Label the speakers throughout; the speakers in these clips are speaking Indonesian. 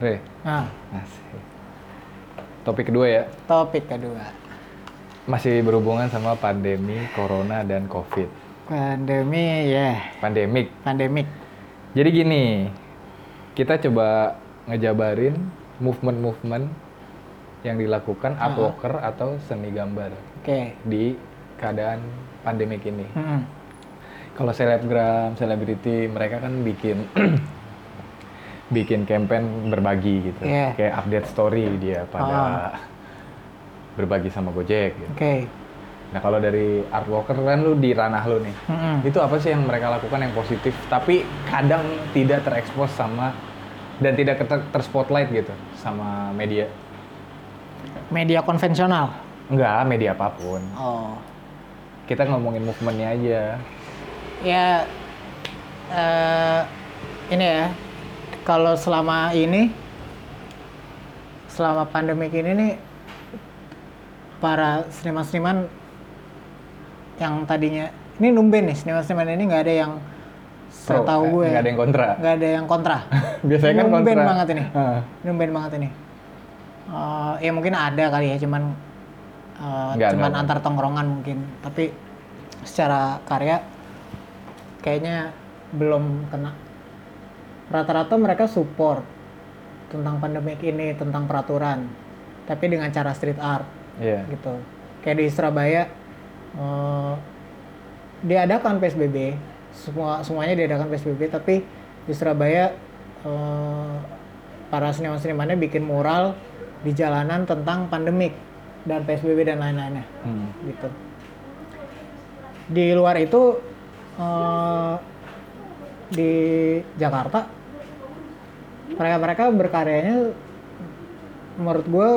Speaker 1: Re.
Speaker 2: Nah,
Speaker 1: Asik. Topik kedua ya,
Speaker 2: topik kedua.
Speaker 1: masih berhubungan sama pandemi corona dan covid.
Speaker 2: Pandemi ya,
Speaker 1: Pandemik.
Speaker 2: pandemik.
Speaker 1: Jadi gini, kita coba ngejabarin movement-movement yang dilakukan art walker atau seni gambar
Speaker 2: Oke.
Speaker 1: di keadaan pandemik ini.
Speaker 2: Mm-mm.
Speaker 1: Kalau selebgram, selebriti, mereka kan bikin bikin campaign berbagi gitu.
Speaker 2: Iya.
Speaker 1: Kayak update story dia pada berbagi sama Gojek gitu.
Speaker 2: Oke.
Speaker 1: Nah, kalau dari art walker kan lu di ranah lu nih.
Speaker 2: Mm-mm.
Speaker 1: Itu apa sih yang mereka lakukan yang positif tapi kadang tidak terekspos sama dan tidak ter- terspotlight gitu sama media.
Speaker 2: Media konvensional.
Speaker 1: Enggak, media apapun.
Speaker 2: Oh.
Speaker 1: Kita ngomongin movementnya aja.
Speaker 2: Ya eh ini ya. Kalau selama ini selama pandemik ini nih para seniman-seniman yang tadinya ini numben nih seniman-seniman ini nggak ada yang
Speaker 1: Pro, eh,
Speaker 2: setahu gue
Speaker 1: nggak ada yang kontra.
Speaker 2: nggak ada yang kontra.
Speaker 1: Biasanya kan
Speaker 2: Numben
Speaker 1: kontra.
Speaker 2: banget ini.
Speaker 1: Heeh.
Speaker 2: Numben banget ini. Eh, ya mungkin ada kali ya, cuman eh,
Speaker 1: Nggak,
Speaker 2: cuman
Speaker 1: nggak.
Speaker 2: antar tongkrongan mungkin. Tapi secara karya kayaknya belum kena. Rata-rata mereka support tentang pandemik ini, tentang peraturan. Tapi dengan cara street art
Speaker 1: Iya.
Speaker 2: gitu. Kayak di Surabaya eh, diadakan PSBB, semua semuanya diadakan PSBB, tapi di Surabaya eh, para seniman-senimannya bikin mural di jalanan tentang pandemik dan PSBB dan lain-lainnya
Speaker 1: Hmm.
Speaker 2: gitu. Di luar itu eh, di Jakarta mereka-mereka berkaryanya menurut gue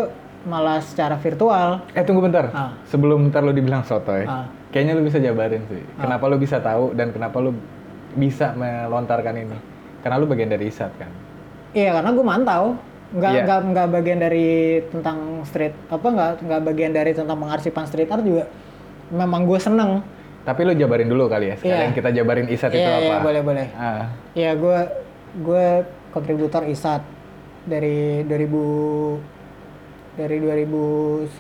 Speaker 2: malah secara virtual
Speaker 1: Eh tunggu bentar.
Speaker 2: Ah.
Speaker 1: Sebelum bentar lu dibilang sotoy.
Speaker 2: Ah.
Speaker 1: Kayaknya lu bisa jabarin sih. Kenapa lu bisa tahu dan kenapa lu bisa melontarkan ini? Karena lu bagian dari ISAT kan.
Speaker 2: Iya karena gue mantau nggak
Speaker 1: Iya.
Speaker 2: nggak nggak bagian dari tentang street apa nggak nggak bagian dari tentang pengarsipan street art juga memang gue seneng
Speaker 1: Tapi lu jabarin dulu kali ya. Sekalian
Speaker 2: Iya.
Speaker 1: kita jabarin ISAT itu
Speaker 2: Iya,
Speaker 1: apa.
Speaker 2: iya, boleh boleh
Speaker 1: Ah.
Speaker 2: Iya gue gue kontributor isat dari 2000 dari 2011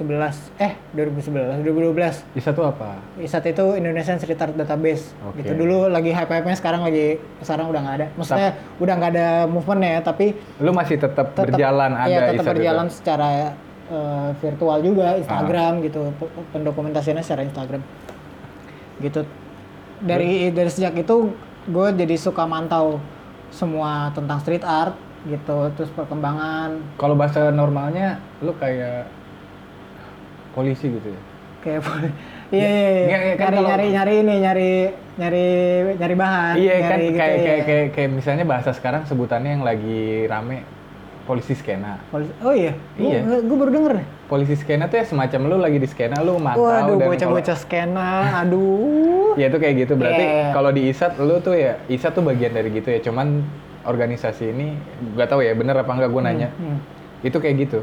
Speaker 2: eh 2011 2012
Speaker 1: ISAT itu apa?
Speaker 2: ISAT itu Indonesian Street Art Database.
Speaker 1: Oke.
Speaker 2: Gitu dulu lagi hype-hype-nya sekarang lagi sekarang udah nggak ada. Maksudnya udah nggak ada movement ya, tapi
Speaker 1: Lu masih tetap
Speaker 2: tetap-
Speaker 1: berjalan ada
Speaker 2: iya,
Speaker 1: ISAT
Speaker 2: tetap berjalan secara eh, virtual juga
Speaker 1: Ah.
Speaker 2: Instagram gitu P- pendokumentasiannya secara Instagram gitu dari dari sejak itu gue jadi suka mantau semua tentang street art gitu terus perkembangan
Speaker 1: itu. Kalau bahasa normalnya lu kayak polisi gitu ya.
Speaker 2: kayak iya iya
Speaker 1: iya,
Speaker 2: iya.
Speaker 1: iya, kan
Speaker 2: nyari
Speaker 1: kalau-
Speaker 2: nyari nyari ini nyari nyari nyari bahan
Speaker 1: Iya
Speaker 2: nyari
Speaker 1: kan
Speaker 2: gitu,
Speaker 1: kayak,
Speaker 2: iya.
Speaker 1: kayak kayak kayak misalnya bahasa sekarang sebutannya yang lagi rame polisi skena.
Speaker 2: Polisi- oh iya
Speaker 1: Iya.
Speaker 2: gue baru denger deh
Speaker 1: Polisi skena tuh ya semacam lu lagi di skena lu mantau dan
Speaker 2: waduh
Speaker 1: kalau-
Speaker 2: bocah-bocah skena aduh
Speaker 1: Ya itu kayak gitu berarti
Speaker 2: Iya, iya.
Speaker 1: kalau di ISAT lu tuh ya ISAT tuh bagian dari gitu ya cuman organisasi ini gak tahu ya bener apa enggak gue nanya
Speaker 2: hmm.
Speaker 1: itu kayak gitu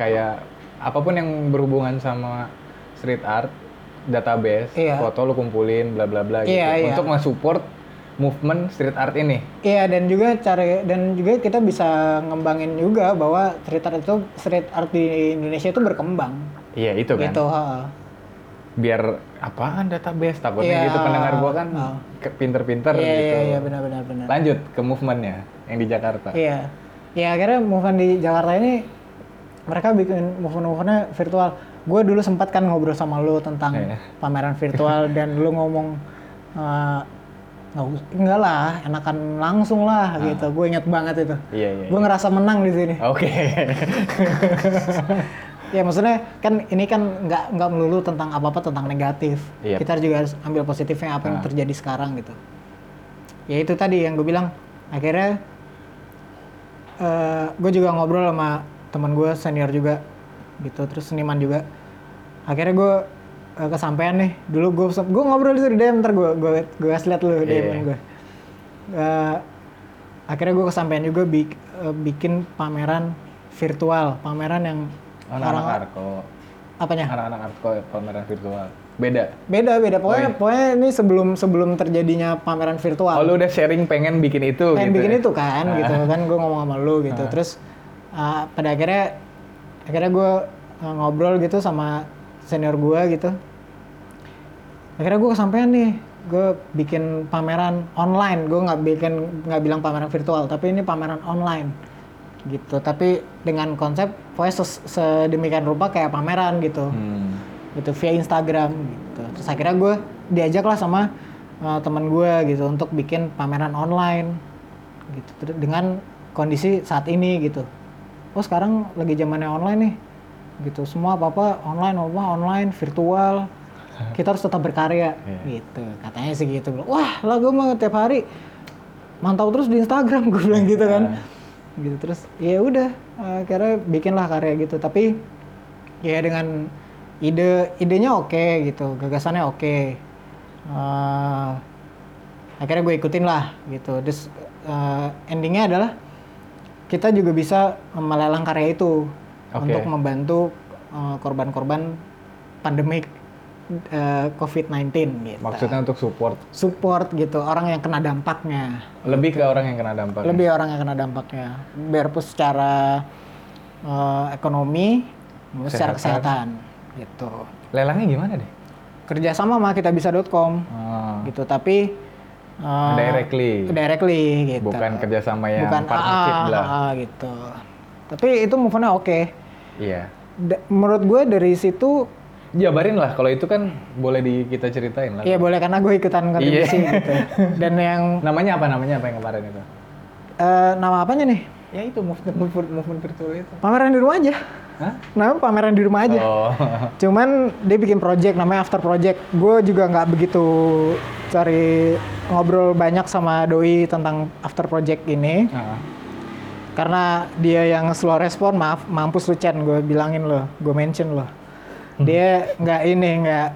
Speaker 1: kayak apapun yang berhubungan sama street art database
Speaker 2: Iya.
Speaker 1: foto lu kumpulin bla bla bla gitu
Speaker 2: Iya, iya.
Speaker 1: untuk mensupport movement street art ini
Speaker 2: Iya dan juga cara dan juga kita bisa ngembangin juga bahwa street art itu street art di Indonesia itu berkembang
Speaker 1: iya itu kan
Speaker 2: gitu. heeh.
Speaker 1: biar apaan database takutnya
Speaker 2: Iya.
Speaker 1: gitu pendengar gua kan
Speaker 2: Oh.
Speaker 1: ke- pinter-pinter
Speaker 2: Iya
Speaker 1: gitu
Speaker 2: iya iya benar-benar benar.
Speaker 1: lanjut ke movementnya yang di Jakarta
Speaker 2: Iya. Ya akhirnya movement di Jakarta ini mereka bikin movement-movementnya virtual. Gue dulu sempat kan ngobrol sama lu tentang
Speaker 1: Iya.
Speaker 2: pameran virtual dan lu ngomong eh, nggak us- enggak lah, enakan langsung lah gitu. Gue inget banget itu.
Speaker 1: Ah. iya iya
Speaker 2: Gue ngerasa menang di sini.
Speaker 1: oke
Speaker 2: Ya maksudnya kan ini kan nggak nggak melulu tentang apa apa tentang negatif.
Speaker 1: Iya. Ah.
Speaker 2: Kita juga harus ambil positifnya apa yang terjadi sekarang gitu. Ya itu tadi yang gue bilang. Akhirnya eh gue juga ngobrol sama teman gue senior juga gitu, terus seniman juga. Akhirnya gue eh, kesampaian nih. Dulu gue gue ngobrol di situ DM ntar gue gue gue kasih liat lu DM
Speaker 1: Iya.
Speaker 2: gue. Eh, akhirnya gue kesampaian juga bik- eh, bikin pameran virtual, pameran yang
Speaker 1: anak-anak arko
Speaker 2: apanya
Speaker 1: anak-anak arko pameran virtual beda
Speaker 2: beda beda pokoknya
Speaker 1: iya.
Speaker 2: pokoknya ini sebelum sebelum terjadinya pameran virtual
Speaker 1: oh lu udah sharing pengen bikin itu
Speaker 2: pengen
Speaker 1: gitu
Speaker 2: bikin
Speaker 1: ya? Ah.
Speaker 2: itu kan gitu kan gue ngomong sama lu gitu terus uh, pada akhirnya akhirnya gue uh, ngobrol gitu sama senior gue gitu akhirnya gue kesampaian nih gue bikin pameran online gue nggak bikin nggak bilang pameran virtual tapi ini pameran online gitu tapi dengan konsep pokoknya ses- sedemikian rupa kayak pameran gitu
Speaker 1: Hmm.
Speaker 2: gitu via Instagram gitu terus akhirnya gue diajak lah sama uh, teman gue gitu untuk bikin pameran online gitu Ter- dengan kondisi saat ini gitu oh sekarang lagi zamannya online nih gitu semua apa apa online apa online virtual kita harus tetap berkarya
Speaker 1: Iya.
Speaker 2: gitu katanya sih gitu wah lah gue mah tiap hari mantau terus di Instagram gue bilang gitu kan gitu terus ya udah akhirnya bikinlah karya gitu tapi ya dengan ide idenya oke gitu gagasannya oke Eh, akhirnya gue ikutin lah gitu terus eh, endingnya adalah kita juga bisa melelang karya itu
Speaker 1: Oke.
Speaker 2: untuk membantu eh, korban-korban pandemik eh, COVID-19 gitu
Speaker 1: Maksudnya untuk support
Speaker 2: support gitu orang yang kena dampaknya
Speaker 1: lebih ke orang yang kena dampak. ya?
Speaker 2: lebih orang yang kena dampaknya biarpun secara eh, ekonomi maupun secara kesehatan gitu
Speaker 1: Lelangnya gimana deh?
Speaker 2: kerjasama sama kitabisa.com
Speaker 1: Ah,
Speaker 2: gitu tapi eh,
Speaker 1: Oh. directly.
Speaker 2: directly gitu
Speaker 1: Bukan ah, kerjasama yang
Speaker 2: bukan
Speaker 1: partnership
Speaker 2: AA,
Speaker 1: lah.
Speaker 2: AA, gitu tapi itu move-nya oke
Speaker 1: Iya.
Speaker 2: Da- menurut gue dari situ
Speaker 1: Nah. Jabarin lah kalau itu kan boleh di kita ceritain lah.
Speaker 2: ya boleh karena gue ikutan kontribusi
Speaker 1: Iya.
Speaker 2: gitu dan yang
Speaker 1: Namanya apa namanya apa yang kemarin itu?
Speaker 2: eh, nama apanya nih
Speaker 1: Ya itu movement movement, movement virtual itu.
Speaker 2: pameran di rumah aja
Speaker 1: Hah?
Speaker 2: nama pameran di rumah aja
Speaker 1: Oh.
Speaker 2: Cuman dia bikin project namanya After Project. Gue juga nggak begitu cari ngobrol banyak sama doi tentang After Project ini
Speaker 1: Ah.
Speaker 2: karena dia yang slow respon. Maaf, mampus lu Chen, gue bilangin lo, gue mention lo.
Speaker 1: Hmm.
Speaker 2: Dia nggak ini nggak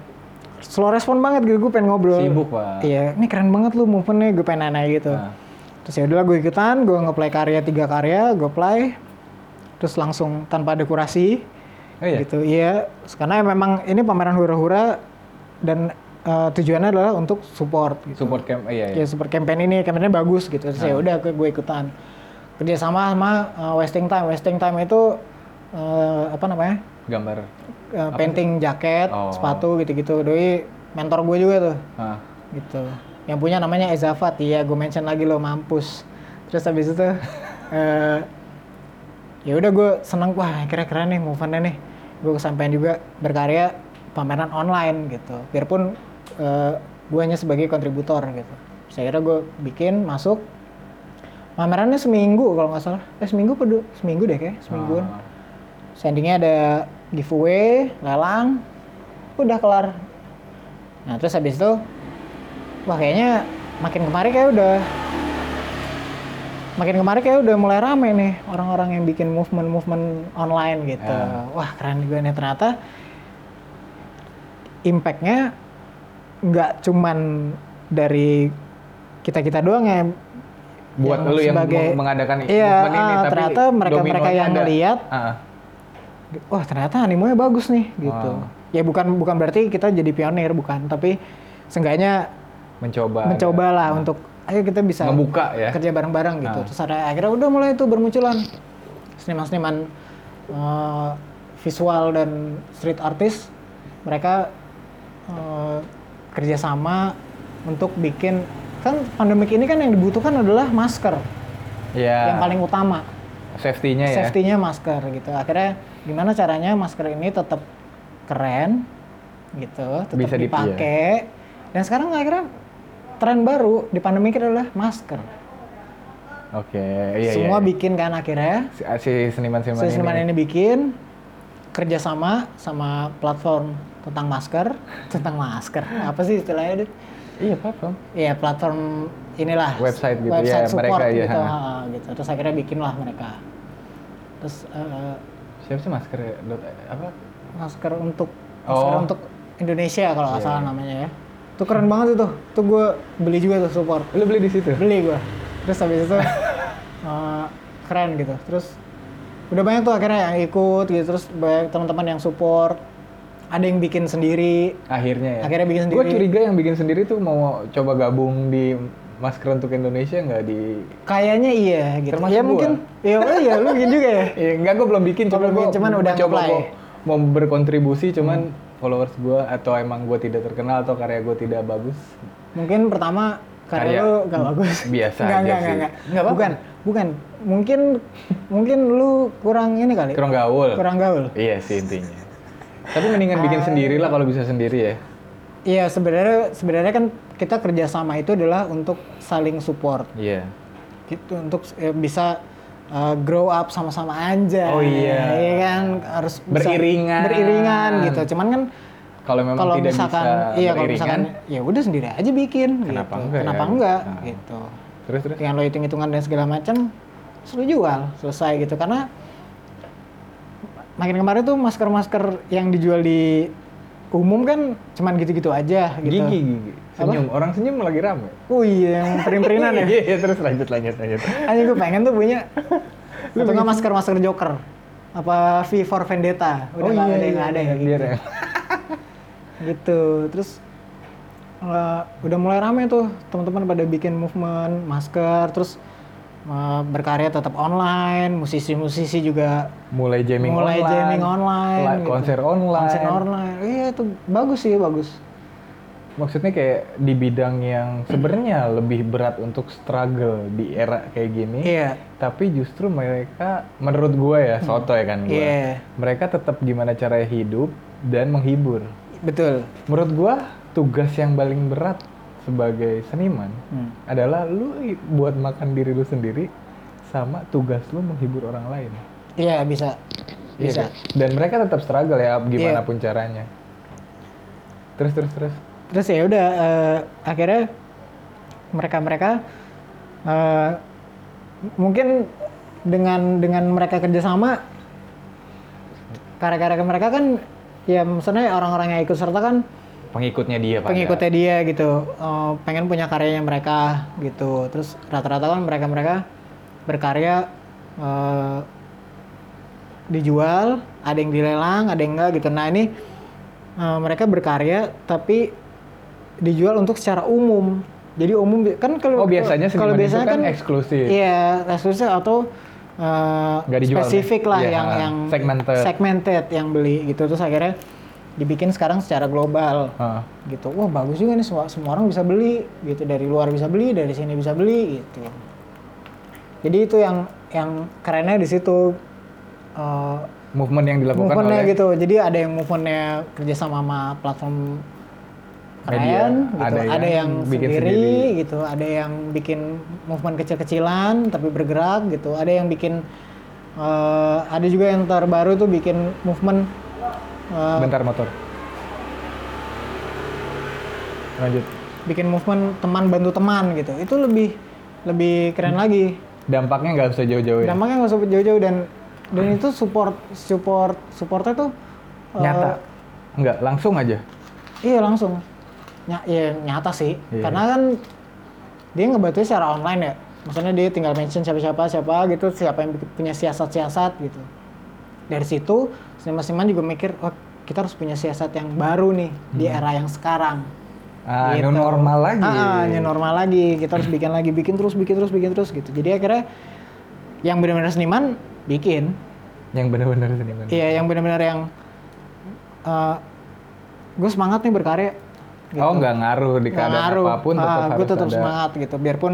Speaker 2: slow respon banget gitu. Gue pengen ngobrol.
Speaker 1: Sibuk, Pak.
Speaker 2: Iya, ini keren banget lu movement-nya. Gue pengen nanya gitu.
Speaker 1: Ah.
Speaker 2: Terus ya udahlah gue ikutan, gue ngeplay karya tiga karya, gue play. Terus langsung tanpa dekorasi
Speaker 1: Oh iya.
Speaker 2: gitu iya karena memang ini pameran hura-hura dan eh, tujuannya adalah untuk support gitu
Speaker 1: Support camp eh, iya iya. Ah.
Speaker 2: ya support campaign ini campaignnya bagus gitu terus ya udah gue, gue ikutan kerjasama sama eh, wasting time wasting time itu eh, apa namanya
Speaker 1: Gambar.
Speaker 2: Eh, painting jaket
Speaker 1: Oh.
Speaker 2: sepatu gitu-gitu doi mentor gue juga tuh
Speaker 1: Ah.
Speaker 2: gitu yang punya namanya Ezafat iya gue mention lagi lo mampus terus habis itu eh, ya udah gue seneng wah kira keren nih movementnya nih gue kesampaian juga berkarya pameran online gitu biarpun eh, gue hanya sebagai kontributor gitu saya kira gue bikin masuk pamerannya seminggu kalau nggak salah eh seminggu apa du- seminggu deh kayak semingguan
Speaker 1: Ah.
Speaker 2: Sendingnya ada giveaway, lelang, udah kelar. Nah terus habis itu, wah kayaknya makin kemari kayak udah, makin kemari kayak udah mulai rame nih orang-orang yang bikin movement-movement online gitu.
Speaker 1: Ya.
Speaker 2: Wah keren juga nih ternyata impactnya nggak cuman dari kita-kita doang ya. yang
Speaker 1: Buat
Speaker 2: Yang
Speaker 1: lu yang
Speaker 2: Ya, sebagai-
Speaker 1: meng- mengadakan
Speaker 2: Iya,
Speaker 1: movement ini
Speaker 2: ah,
Speaker 1: tapi
Speaker 2: ternyata mereka-mereka
Speaker 1: dominonya
Speaker 2: yang
Speaker 1: ada.
Speaker 2: ngeliat
Speaker 1: Ah.
Speaker 2: wah ternyata animonya bagus nih gitu.
Speaker 1: Wow.
Speaker 2: Ya bukan bukan berarti kita jadi pionir bukan, tapi seenggaknya
Speaker 1: mencoba Ah,
Speaker 2: mencobalah untuk ayo kita bisa
Speaker 1: ngebuka iya. ya.
Speaker 2: kerja bareng-bareng gitu.
Speaker 1: Ah.
Speaker 2: Terus ada akhirnya udah mulai itu bermunculan seniman-seniman eh, visual dan street artist mereka eh, kerjasama untuk bikin kan pandemik ini kan yang dibutuhkan adalah masker
Speaker 1: Iya.
Speaker 2: yang paling utama
Speaker 1: safety-nya ya.
Speaker 2: safety-nya masker gitu. Akhirnya gimana caranya masker ini tetap keren gitu, tetap
Speaker 1: Bisa dip-
Speaker 2: dipakai. Dan sekarang akhirnya tren baru di pandemi kita adalah masker.
Speaker 1: Oke, iya
Speaker 2: Semua
Speaker 1: iya.
Speaker 2: bikin kan akhirnya.
Speaker 1: Si- ah, si seniman-seniman ini.
Speaker 2: Si seniman ini bikin kerjasama sama platform tentang masker, tentang masker. Apa sih istilahnya? Dit?
Speaker 1: Iya, platform.
Speaker 2: Iya platform inilah
Speaker 1: Website gitu,
Speaker 2: website
Speaker 1: ya,
Speaker 2: support
Speaker 1: mereka, ya.
Speaker 2: gitu, ha, gitu. Terus akhirnya bikinlah mereka. Terus eh,
Speaker 1: Siapa sih masker ya? Dot- apa?
Speaker 2: masker untuk
Speaker 1: Oh. Iya.
Speaker 2: masker untuk Indonesia kalau nggak salah namanya ya. Itu keren banget itu. Tuh gue beli juga tuh support.
Speaker 1: Lu beli di situ.
Speaker 2: Beli gue. Terus habis itu eh, keren gitu. Terus udah banyak tuh akhirnya yang ikut gitu. Terus banyak teman-teman yang support. Ada yang bikin sendiri.
Speaker 1: Akhirnya ya.
Speaker 2: Akhirnya bikin
Speaker 1: Gue
Speaker 2: sendiri.
Speaker 1: curiga yang bikin sendiri tuh mau coba gabung di masker untuk Indonesia nggak di
Speaker 2: Kayaknya iya gitu.
Speaker 1: Termasuk
Speaker 2: ya
Speaker 1: gua.
Speaker 2: mungkin iya oh iya lu bikin juga ya.
Speaker 1: Iya, enggak gue belum bikin,
Speaker 2: Oh,
Speaker 1: cuma
Speaker 2: belum bikin, cuman udah
Speaker 1: coba
Speaker 2: nge-apply. Hmm.
Speaker 1: gua mau berkontribusi, cuman followers gue atau emang gue tidak terkenal atau karya gue tidak bagus.
Speaker 2: Mungkin pertama karya
Speaker 1: Karya
Speaker 2: lu gak bagus.
Speaker 1: biasa
Speaker 2: Nggak,
Speaker 1: aja
Speaker 2: nggak,
Speaker 1: sih.
Speaker 2: nggak, nggak.
Speaker 1: Nggak apa-apa.
Speaker 2: Bukan, bukan. Mungkin mungkin lu kurang ini kali.
Speaker 1: Kurang gaul.
Speaker 2: Kurang Ah. gaul.
Speaker 1: Iya sih intinya. Tapi mendingan bikin sendiri lah kalau bisa sendiri ya.
Speaker 2: Iya, sebenarnya sebenarnya kan kita kerjasama itu adalah untuk saling support.
Speaker 1: Iya.
Speaker 2: gitu untuk eh, bisa eh, grow up sama-sama aja.
Speaker 1: Oh, iya.
Speaker 2: Iya kan harus bisa-
Speaker 1: Beriringan.
Speaker 2: Beriringan gitu. Cuman kan
Speaker 1: Kalau memang
Speaker 2: kalau
Speaker 1: tidak
Speaker 2: misalkan
Speaker 1: bisa
Speaker 2: iya kalau
Speaker 1: beriringan,
Speaker 2: misalkan ya udah sendiri aja bikin
Speaker 1: Kenapa
Speaker 2: gitu.
Speaker 1: enggak
Speaker 2: Kenapa
Speaker 1: ya?
Speaker 2: enggak
Speaker 1: Nah.
Speaker 2: gitu.
Speaker 1: terus terus.
Speaker 2: Dengan lo hitung-hitungan dan segala macam seru jual, selesai gitu karena makin kemarin tuh masker-masker yang dijual di umum kan cuman gitu-gitu aja gitu.
Speaker 1: Gigi gigi. Senyum. Orang senyum lagi rame.
Speaker 2: Oh iya, yang perin-perinan ya.
Speaker 1: Iya, iya, terus lanjut lanjut lanjut.
Speaker 2: Anjing gue pengen tuh punya. Atau nggak masker-masker Joker. Apa V for Vendetta.
Speaker 1: Oh
Speaker 2: Udah nggak ada, nggak ada ya.
Speaker 1: iya, Biar ya.
Speaker 2: Gitu. Terus eh, udah mulai rame tuh teman-teman pada bikin movement masker. Terus eh, berkarya tetap online. Musisi-musisi juga
Speaker 1: Mulai jamming
Speaker 2: mulai
Speaker 1: online.
Speaker 2: jamming online.
Speaker 1: la-
Speaker 2: gitu.
Speaker 1: Konser online.
Speaker 2: Konser online. Iya itu bagus sih bagus.
Speaker 1: Maksudnya kayak di bidang yang sebenarnya lebih berat untuk struggle di era kayak gini.
Speaker 2: Iya. Hmm.
Speaker 1: Tapi justru mereka, menurut gue ya, soto ya kan gue.
Speaker 2: Iya.
Speaker 1: Mereka tetap gimana caranya hidup dan menghibur.
Speaker 2: Betul.
Speaker 1: Menurut gue tugas yang paling berat sebagai seniman adalah lu i- buat makan diri lu sendiri sama tugas lu menghibur orang lain.
Speaker 2: Iya bisa.
Speaker 1: Iya
Speaker 2: Bisa.
Speaker 1: kan? Dan mereka tetap struggle ya gimana
Speaker 2: Iya.
Speaker 1: pun caranya. Terus terus terus.
Speaker 2: terus ya udah eh, akhirnya mereka mereka mungkin dengan dengan mereka kerjasama karya-karya mereka kan ya maksudnya orang-orang yang ikut serta kan
Speaker 1: Pengikutnya dia Iya, Pak. ya?
Speaker 2: pengikutnya dia gitu Eh, pengen punya karyanya mereka gitu terus rata-rata kan mereka mereka berkarya eh, dijual ada yang dilelang ada yang enggak gitu nah ini eh, mereka berkarya tapi dijual untuk secara umum jadi umum bi- kan kalau
Speaker 1: Oh biasanya
Speaker 2: kalau
Speaker 1: seniman
Speaker 2: biasanya
Speaker 1: itu
Speaker 2: kan
Speaker 1: kan, eksklusif.
Speaker 2: iya eksklusif atau eh,
Speaker 1: Nggak dijual,
Speaker 2: spesifik
Speaker 1: Nek.
Speaker 2: lah
Speaker 1: Iya,
Speaker 2: yang yang
Speaker 1: segmented.
Speaker 2: segmented yang beli gitu terus akhirnya dibikin sekarang secara global
Speaker 1: Hah.
Speaker 2: gitu wah bagus juga nih semua semua orang bisa beli gitu dari luar bisa beli dari sini bisa beli gitu jadi itu yang yang kerennya di situ eh,
Speaker 1: Movement yang dilakukan
Speaker 2: movementnya
Speaker 1: oleh
Speaker 2: gitu jadi ada yang movementnya kerja sama sama platform
Speaker 1: Media.
Speaker 2: keren gitu
Speaker 1: Ada
Speaker 2: ada,
Speaker 1: yang
Speaker 2: yang,
Speaker 1: bikin
Speaker 2: sendiri,
Speaker 1: sendiri.
Speaker 2: gitu ada yang bikin movement kecil-kecilan tapi bergerak gitu ada yang bikin eh, ada juga yang terbaru tuh bikin movement eh,
Speaker 1: bentar motor. Lanjut.
Speaker 2: bikin movement teman bantu teman gitu itu lebih lebih keren lagi
Speaker 1: Dampaknya nggak usah jauh-jauh ya.
Speaker 2: dampaknya nggak usah jauh-jauh dan dan itu support support supportnya tuh eh,
Speaker 1: Nyata. Nggak, langsung aja.
Speaker 2: iya langsung Ny- ya, nyata sih
Speaker 1: Iya.
Speaker 2: karena kan dia ngebantuin secara online ya maksudnya dia tinggal mention siapa-siapa siapa gitu siapa yang bikin- punya siasat-siasat gitu dari situ seniman-seniman juga mikir oh, kita harus punya siasat yang baru nih di
Speaker 1: Hmm.
Speaker 2: era yang sekarang
Speaker 1: Ah,
Speaker 2: Gitu.
Speaker 1: new normal lagi.
Speaker 2: Ah, ah, new normal lagi. Kita harus bikin lagi, bikin terus, bikin terus, bikin terus gitu. Jadi akhirnya yang benar-benar seniman bikin.
Speaker 1: Yang benar-benar seniman.
Speaker 2: Iya, yang benar-benar yang gue semangat nih berkarya. Gitu.
Speaker 1: Oh, nggak ngaruh di
Speaker 2: Nggak
Speaker 1: keadaan
Speaker 2: ngaruh.
Speaker 1: apapun
Speaker 2: Ah,
Speaker 1: tetap
Speaker 2: gue
Speaker 1: harus
Speaker 2: tetap
Speaker 1: ada.
Speaker 2: semangat gitu. Biarpun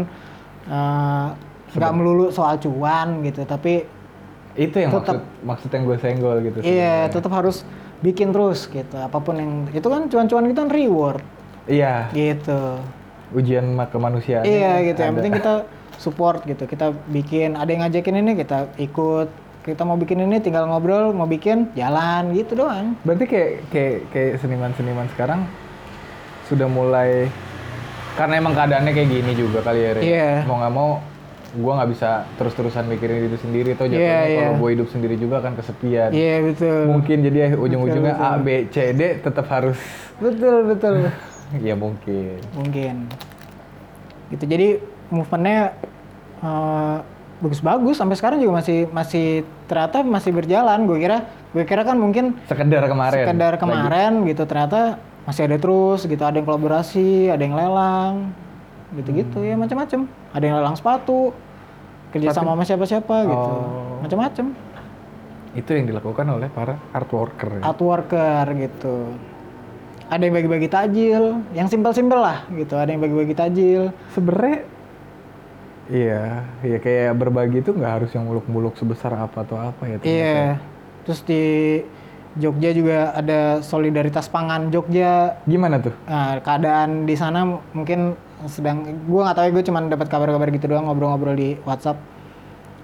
Speaker 2: eh, nggak melulu soal cuan gitu, tapi
Speaker 1: Itu yang maksud
Speaker 2: Tetap.
Speaker 1: maksud yang gue senggol gitu.
Speaker 2: iya
Speaker 1: sebenarnya.
Speaker 2: tetap harus bikin terus gitu. Apapun yang itu kan cuan-cuan itu kan reward
Speaker 1: Iya,
Speaker 2: gitu.
Speaker 1: ujian ma- kemanusiaan.
Speaker 2: Iya gitu. Yang
Speaker 1: ada.
Speaker 2: penting kita support gitu. Kita bikin ada yang ngajakin ini kita ikut. Kita mau bikin ini tinggal ngobrol, mau bikin jalan gitu doang.
Speaker 1: Berarti kayak kayak kayak seniman-seniman sekarang sudah mulai karena emang keadaannya kayak gini juga kali ya. Re.
Speaker 2: Iya.
Speaker 1: Mau nggak mau gua nggak bisa terus-terusan mikirin diri sendiri atau jatuhnya
Speaker 2: Iya, iya.
Speaker 1: kalau gue hidup sendiri juga akan kesepian.
Speaker 2: Iya betul.
Speaker 1: Mungkin jadi ya ujung-ujungnya A B C D tetap harus
Speaker 2: Betul betul.
Speaker 1: ya mungkin.
Speaker 2: Mungkin. Gitu. Jadi movementnya eh, bagus-bagus sampai sekarang juga masih masih ternyata masih berjalan. Gue kira gue kira kan mungkin
Speaker 1: Sekedar kemarin.
Speaker 2: sekedar
Speaker 1: Lagi.
Speaker 2: kemarin gitu ternyata masih ada terus gitu ada yang kolaborasi ada yang lelang gitu-gitu
Speaker 1: Hmm.
Speaker 2: ya macam-macam. Ada yang lelang sepatu, kerja sama sama siapa-siapa gitu,
Speaker 1: Oh.
Speaker 2: macam-macam.
Speaker 1: Itu yang dilakukan oleh para art worker. ya?
Speaker 2: Art worker gitu. Ada yang bagi-bagi tajil, yang simpel-simpel lah gitu. Ada yang bagi-bagi tajil.
Speaker 1: Hmm, Sebenernya Iya, ya kayak berbagi itu nggak harus yang muluk-muluk sebesar apa atau apa ya.
Speaker 2: Iya.
Speaker 1: ternyata.
Speaker 2: Terus di Jogja juga ada solidaritas pangan Jogja
Speaker 1: Gimana tuh?
Speaker 2: Nah, keadaan di sana m- mungkin sedang gua nggak tahu ya gue cuman dapat kabar-kabar gitu doang ngobrol-ngobrol di WhatsApp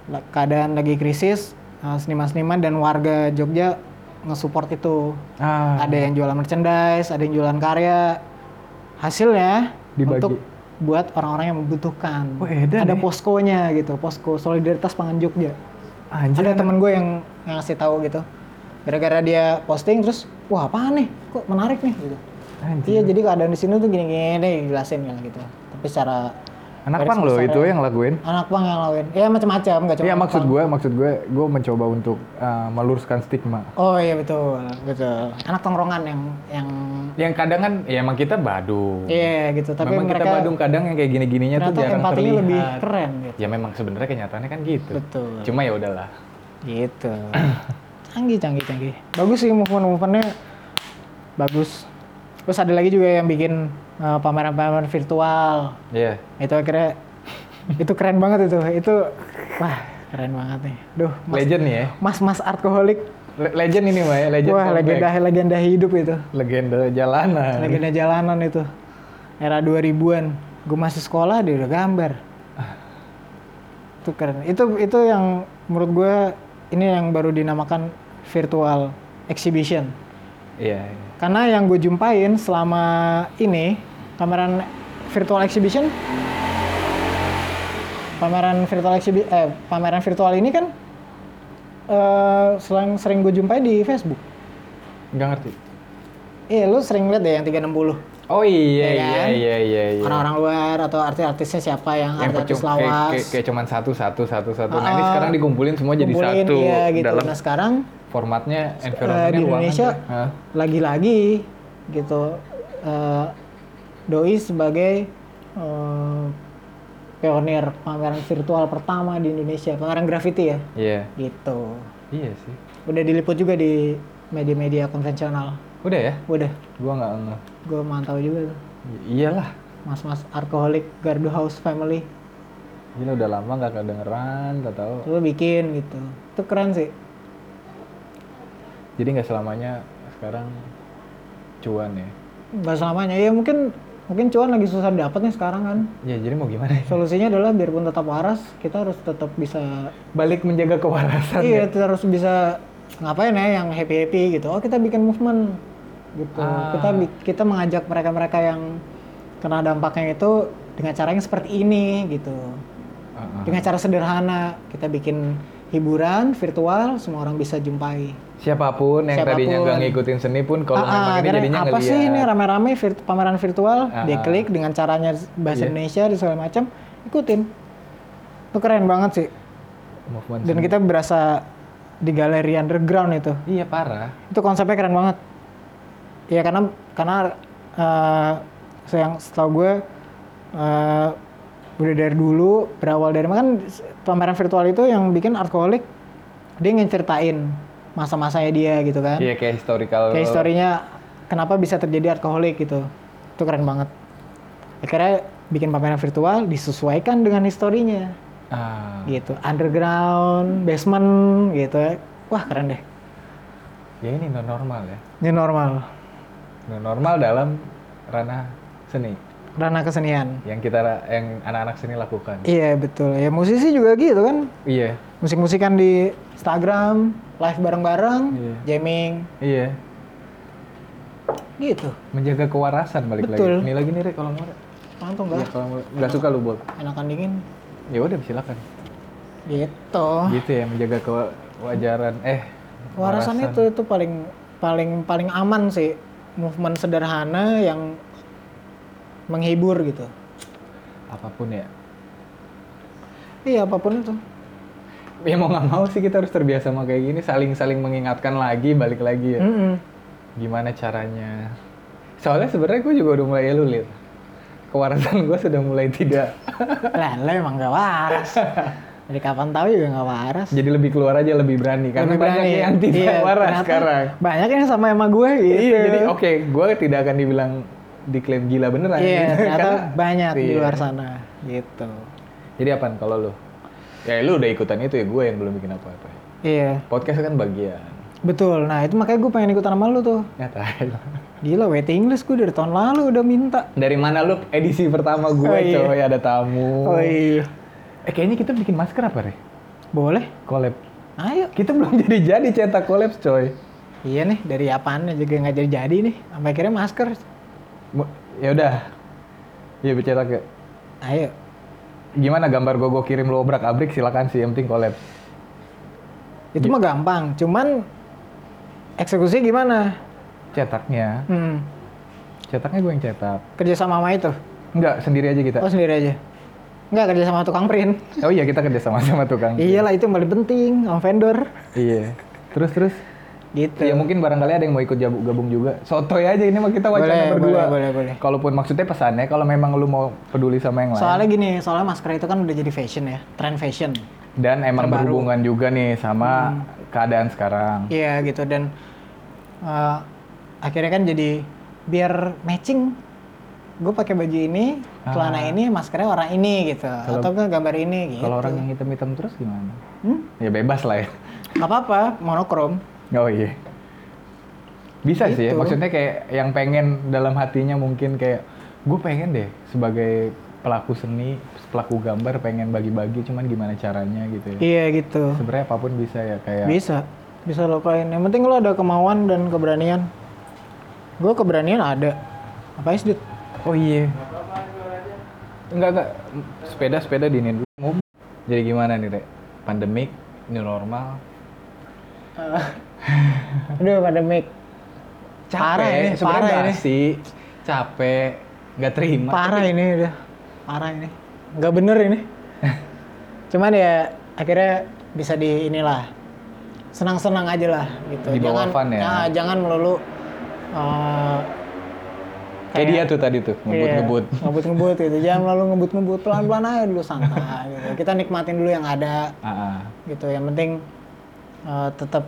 Speaker 2: La- keadaan lagi krisis eh, seniman-seniman dan warga Jogja ngesupport itu
Speaker 1: Ah,
Speaker 2: ada yang jualan merchandise ada yang jualan karya hasilnya
Speaker 1: Dibagi.
Speaker 2: untuk buat orang-orang yang membutuhkan
Speaker 1: Wah, edan ya.
Speaker 2: ada poskonya gitu posko solidaritas pangan Jogja
Speaker 1: anjir.
Speaker 2: ada temen gue yang ngasih tahu gitu gara-gara dia posting terus wah apaan nih kok menarik nih gitu
Speaker 1: anjir.
Speaker 2: Iya, jadi keadaan di sini tuh gini-gini jelasin kan gitu. Tapi secara
Speaker 1: Anak
Speaker 2: garis
Speaker 1: pang loh
Speaker 2: besarnya.
Speaker 1: itu yang lakuin.
Speaker 2: anak pang yang lawan. Ya macam-macam, nggak cuma.
Speaker 1: Iya
Speaker 2: anak
Speaker 1: maksud
Speaker 2: ya? pang.
Speaker 1: gue, maksud gue, gue mencoba untuk eh, meluruskan stigma.
Speaker 2: Oh iya betul, betul. Anak tongkrongan yang yang
Speaker 1: Yang kadang kan, ya emang kita badung.
Speaker 2: iya gitu. Tapi
Speaker 1: Hmm. memang
Speaker 2: mereka
Speaker 1: kita badung kadang yang kayak gini-gininya tuh
Speaker 2: ternyata
Speaker 1: jarang
Speaker 2: empatinya
Speaker 1: terlihat.
Speaker 2: lebih keren gitu.
Speaker 1: Ya memang sebenarnya kenyataannya kan gitu.
Speaker 2: Betul.
Speaker 1: Cuma ya udahlah.
Speaker 2: Gitu. canggih, canggih, canggih. Bagus sih movement movementnya bagus. Terus ada lagi juga yang bikin eh, pameran-pameran virtual.
Speaker 1: Iya.
Speaker 2: Itu akhirnya itu keren banget itu. Itu wah keren banget nih. Duh, mas-
Speaker 1: Legend nih ya.
Speaker 2: mas-mas artkoholik
Speaker 1: Le- legend ini Mbak ya, legend.
Speaker 2: wah
Speaker 1: comeback. Nah,
Speaker 2: legenda legenda hidup itu
Speaker 1: legenda jalanan.
Speaker 2: legenda jalanan itu era 2000-an gue masih sekolah dia udah gambar itu keren itu itu yang menurut gue ini yang baru dinamakan virtual exhibition
Speaker 1: Iya.
Speaker 2: karena yang gue jumpain selama ini pameran virtual exhibition pameran virtual exhibi eh pameran virtual ini kan eh selain sering gue jumpai di Facebook
Speaker 1: Enggak ngerti.
Speaker 2: Iya, lu sering lihat deh yang 360.
Speaker 1: Oh iya iya
Speaker 2: Iya kan?
Speaker 1: iya iya. iya.
Speaker 2: Orang-orang luar atau artis-artisnya siapa yang,
Speaker 1: yang
Speaker 2: artis
Speaker 1: percuma kayak,
Speaker 2: lawas.
Speaker 1: kayak, kayak cuman satu satu satu satu. Nah ini
Speaker 2: Ah,
Speaker 1: sekarang dikumpulin semua jadi
Speaker 2: kumpulin,
Speaker 1: satu
Speaker 2: iya, gitu.
Speaker 1: dalam
Speaker 2: Nah, sekarang
Speaker 1: formatnya
Speaker 2: eh,
Speaker 1: environmentnya
Speaker 2: di
Speaker 1: ruangan
Speaker 2: Indonesia
Speaker 1: tuh. Hah?
Speaker 2: lagi-lagi gitu eh, doi sebagai eh, pionir pameran virtual pertama di Indonesia, pameran graffiti ya.
Speaker 1: Iya.
Speaker 2: Gitu.
Speaker 1: Iya sih.
Speaker 2: Udah diliput juga di media-media konvensional.
Speaker 1: Udah ya.
Speaker 2: Udah,
Speaker 1: Gua nggak nge.
Speaker 2: gue mantau juga tuh.
Speaker 1: I- Iyalah.
Speaker 2: Mas-mas alkoholik Gardu House Family
Speaker 1: Gini udah lama nggak kedengeran, tak tahu.
Speaker 2: Coba bikin gitu. Itu keren sih.
Speaker 1: Jadi nggak selamanya sekarang cuan ya.
Speaker 2: Gak selamanya. Ya mungkin mungkin cuan lagi susah dapat nih sekarang kan.
Speaker 1: Ya jadi mau gimana? ya?
Speaker 2: Solusinya adalah biarpun tetap waras, kita harus tetap bisa
Speaker 1: Balik menjaga kewarasan.
Speaker 2: iya, kita harus bisa ngapain ya yang happy-happy gitu. Oh, kita bikin movement gitu.
Speaker 1: Ah.
Speaker 2: Kita bi- kita mengajak mereka-mereka yang kena dampaknya itu dengan cara yang seperti ini gitu.
Speaker 1: Heeh.
Speaker 2: Dengan cara sederhana, kita bikin hiburan virtual semua orang bisa jumpai.
Speaker 1: Siapapun yang tadinya
Speaker 2: Siapapun.
Speaker 1: nggak ngikutin seni pun kalau
Speaker 2: Ah,
Speaker 1: memang
Speaker 2: ah,
Speaker 1: ini
Speaker 2: karena
Speaker 1: jadinya
Speaker 2: apa
Speaker 1: ngeliat.
Speaker 2: sih ini rame-rame virt- pameran virtual
Speaker 1: Ah,
Speaker 2: diklik dengan caranya
Speaker 1: Iya.
Speaker 2: bahasa Indonesia dan segala macam ikutin itu keren banget sih
Speaker 1: Movement
Speaker 2: dan
Speaker 1: seni.
Speaker 2: kita berasa di galeri underground itu
Speaker 1: Iya parah.
Speaker 2: itu konsepnya keren banget ya karena karena eh, sayang setahu gue eh, udah dari dulu berawal dari kan pameran virtual itu yang bikin artkoholik dia ngeceritain masa-masanya dia gitu kan
Speaker 1: Iya kayak historical.
Speaker 2: kayak historinya kenapa bisa terjadi alkoholik gitu itu keren banget akhirnya bikin pameran virtual disesuaikan dengan historinya
Speaker 1: Ah,
Speaker 2: gitu underground basement gitu ya wah keren deh
Speaker 1: ya ini non normal ya.
Speaker 2: ini normal
Speaker 1: Non normal dalam ranah seni
Speaker 2: ranah kesenian
Speaker 1: yang kita yang anak-anak seni lakukan.
Speaker 2: iya betul ya musisi juga gitu kan
Speaker 1: Iya.
Speaker 2: musik-musikan di Instagram live bareng-bareng
Speaker 1: Iya.
Speaker 2: jamming
Speaker 1: Iya.
Speaker 2: gitu
Speaker 1: Menjaga kewarasan balik lagi.
Speaker 2: Betul.
Speaker 1: Ini lagi nih Rek kalau mau. Rek.
Speaker 2: langsung
Speaker 1: Iya
Speaker 2: gak
Speaker 1: kalau mau. Nggak suka lu Bob.
Speaker 2: enakan dingin
Speaker 1: Ya udah silakan.
Speaker 2: gitu
Speaker 1: Gitu ya menjaga kewajaran. Eh.
Speaker 2: Warasan itu itu paling paling paling aman sih movement sederhana yang menghibur gitu.
Speaker 1: Apapun ya.
Speaker 2: Iya apapun itu.
Speaker 1: Ya mau nggak mau sih kita harus terbiasa sama kayak gini. Saling-saling mengingatkan lagi balik lagi ya.
Speaker 2: Hmm. Mm-mm.
Speaker 1: gimana caranya soalnya sebenarnya gue juga udah mulai elulir ya kewarasan gue sudah mulai tidak
Speaker 2: lah lo emang gak waras dari kapan tahu juga gak waras
Speaker 1: jadi lebih keluar aja lebih berani karena
Speaker 2: Lebih
Speaker 1: banyak
Speaker 2: berani.
Speaker 1: yang tidak
Speaker 2: Iya,
Speaker 1: waras
Speaker 2: ternyata
Speaker 1: sekarang
Speaker 2: banyak yang sama sama gue gitu
Speaker 1: iya jadi oke gue tidak akan dibilang diklaim gila beneran
Speaker 2: Iya,
Speaker 1: gitu.
Speaker 2: ternyata
Speaker 1: Karena-
Speaker 2: banyak di
Speaker 1: Iya.
Speaker 2: luar sana gitu
Speaker 1: jadi apa kalau lu ya lu udah ikutan itu ya gue yang belum bikin apa-apa
Speaker 2: iya
Speaker 1: podcast kan bagian
Speaker 2: betul nah itu makanya gue pengen ikutan sama lu tuh
Speaker 1: nyata
Speaker 2: gila waiting list gue dari tahun lalu udah minta
Speaker 1: dari mana lu edisi pertama gue
Speaker 2: Oh, iya.
Speaker 1: coy ada tamu
Speaker 2: iya
Speaker 1: eh kayaknya kita bikin masker apa Re?
Speaker 2: boleh
Speaker 1: collab
Speaker 2: ayo
Speaker 1: kita belum jadi jadi cetak collab coy
Speaker 2: iya nih dari apaan juga nggak jadi jadi nih sampai akhirnya masker
Speaker 1: Mu- ya udah ya bercetak ya
Speaker 2: Nah, ayo
Speaker 1: gimana gambar gue gue kirim lo obrak abrik silakan sih yang penting collab
Speaker 2: itu mah gampang cuman eksekusi gimana
Speaker 1: cetaknya
Speaker 2: hmm,
Speaker 1: cetaknya gue yang cetak
Speaker 2: kerja sama sama itu
Speaker 1: enggak sendiri aja kita
Speaker 2: oh sendiri aja nggak kerja sama tukang print
Speaker 1: oh iya kita kerja sama sama tukang
Speaker 2: iyalah itu yang paling penting sama vendor
Speaker 1: iya terus terus
Speaker 2: gitu
Speaker 1: ya mungkin barangkali ada yang mau ikut jabu- gabung juga sotoy aja ini mah kita wacana
Speaker 2: Boleh,
Speaker 1: berdua
Speaker 2: boleh, boleh, boleh.
Speaker 1: kalaupun maksudnya pesannya kalau memang lu mau peduli sama yang lain
Speaker 2: soalnya gini soalnya masker itu kan udah jadi fashion ya trend fashion
Speaker 1: dan emang
Speaker 2: terbaru. Hmm.
Speaker 1: berhubungan juga nih sama keadaan sekarang
Speaker 2: iya gitu dan eh, akhirnya kan jadi biar matching gue pakai baju ini celana ini maskernya warna ini gitu atau enggak gambar ini gitu
Speaker 1: kalau orang yang hitam-hitam terus gimana
Speaker 2: Hmm?
Speaker 1: ya bebas lah ya
Speaker 2: nggak apa-apa monokrom
Speaker 1: Oh iya. Bisa sih ya,
Speaker 2: Gitu.
Speaker 1: maksudnya kayak yang pengen dalam hatinya mungkin kayak gue pengen deh sebagai pelaku seni, pelaku gambar pengen bagi-bagi cuman gimana caranya gitu ya.
Speaker 2: iya gitu
Speaker 1: Sebenarnya apapun bisa ya kayak
Speaker 2: bisa bisa lo lakuin yang penting lo ada kemauan dan keberanian gue keberanian ada apa sih Dut?
Speaker 1: oh iya. Enggak enggak sepeda-sepeda diinin dulu. Ngob- Jadi gimana nih, Rek? Pandemik, new normal.
Speaker 2: aduh pandemik
Speaker 1: Capek,
Speaker 2: Parah ini,
Speaker 1: sebenarnya
Speaker 2: parah ini.
Speaker 1: basi, capek, nggak terima.
Speaker 2: parah ini udah parah ini nggak bener ini cuman ya akhirnya bisa di inilah senang-senang aja lah gitu
Speaker 1: Di bawah
Speaker 2: jangan
Speaker 1: fun ya.
Speaker 2: nah, jangan melulu eh,
Speaker 1: Kayak dia tuh tadi tuh, ngebut-ngebut.
Speaker 2: ya. iya, ngebut-ngebut gitu jangan melulu ngebut-ngebut pelan-pelan aja dulu santai gitu. kita nikmatin dulu yang ada
Speaker 1: Ah, ah.
Speaker 2: gitu yang penting eh, tetap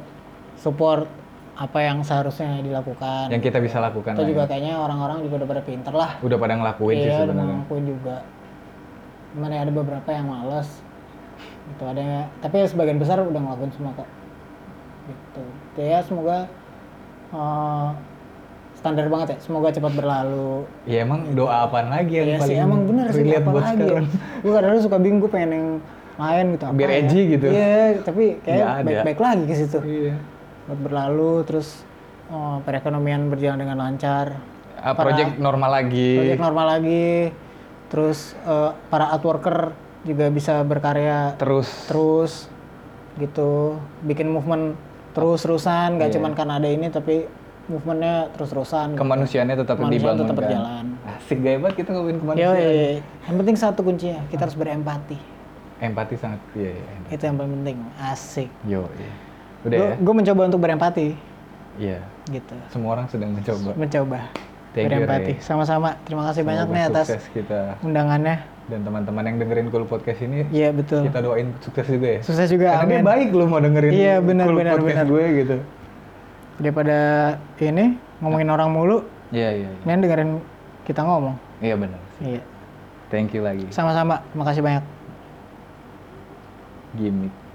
Speaker 2: support apa yang seharusnya dilakukan
Speaker 1: Yang kita bisa lakukan.
Speaker 2: atau
Speaker 1: lah
Speaker 2: juga
Speaker 1: ya.
Speaker 2: kayaknya orang-orang juga udah pada pinter lah
Speaker 1: Udah pada ngelakuin sih
Speaker 2: iya udah
Speaker 1: sebenarnya.
Speaker 2: ngakuin juga cuman ya ada beberapa yang males gitu ada yang- tapi ya sebagian besar udah ngelakuin semua kok gitu Gitu ya semoga eh, standar banget ya semoga cepat berlalu
Speaker 1: Ya emang doa apaan lagi yang
Speaker 2: Iya
Speaker 1: paling
Speaker 2: sih emang bener sih
Speaker 1: relate
Speaker 2: apa
Speaker 1: buat
Speaker 2: lagi ya?
Speaker 1: sekarang?
Speaker 2: gue kadang suka bingung gue pengen yang lain gitu apa
Speaker 1: Biar
Speaker 2: ya?
Speaker 1: edgy gitu.
Speaker 2: iya tapi
Speaker 1: Nggak
Speaker 2: kayak
Speaker 1: ada.
Speaker 2: baik-baik lagi ke situ
Speaker 1: Iya.
Speaker 2: Cepat berlalu terus eh, perekonomian berjalan dengan lancar
Speaker 1: Ah, project normal lagi.
Speaker 2: project normal lagi terus eh, para artworker juga bisa berkarya
Speaker 1: Terus
Speaker 2: terus gitu bikin movement terus-terusan
Speaker 1: Iya.
Speaker 2: gak cuman karena ada ini tapi movementnya terus-terusan
Speaker 1: kemanusiaannya tetap
Speaker 2: Kemanusiaan
Speaker 1: dibangun.
Speaker 2: tetap berjalan.
Speaker 1: Asik gaya banget kita ngomongin kemanusiaan.
Speaker 2: Yoi. yang penting satu kuncinya kita harus berempati
Speaker 1: Empati sangat iya iya. enak.
Speaker 2: itu yang paling penting asik
Speaker 1: Yo. Iya. Udah ya?
Speaker 2: gue mencoba untuk berempati
Speaker 1: Iya.
Speaker 2: gitu
Speaker 1: Semua orang sedang mencoba.
Speaker 2: mencoba
Speaker 1: Thank you,
Speaker 2: berempati
Speaker 1: Ray.
Speaker 2: sama-sama terima kasih banyak
Speaker 1: Semoga
Speaker 2: nih atas
Speaker 1: sukses kita
Speaker 2: undangannya
Speaker 1: dan teman-teman yang dengerin Cool Podcast ini
Speaker 2: iya betul
Speaker 1: kita doain sukses juga ya.
Speaker 2: sukses juga
Speaker 1: Karena dia
Speaker 2: amin
Speaker 1: baik loh mau dengerin
Speaker 2: Iya, benar,
Speaker 1: Cool
Speaker 2: benar,
Speaker 1: Podcast gue gitu.
Speaker 2: daripada ini ngomongin orang mulu
Speaker 1: Iya iya. iya.
Speaker 2: Nen dengerin kita ngomong.
Speaker 1: Iya benar.
Speaker 2: Iya.
Speaker 1: Thank you lagi.
Speaker 2: Sama-sama. Makasih banyak.
Speaker 1: Gimik.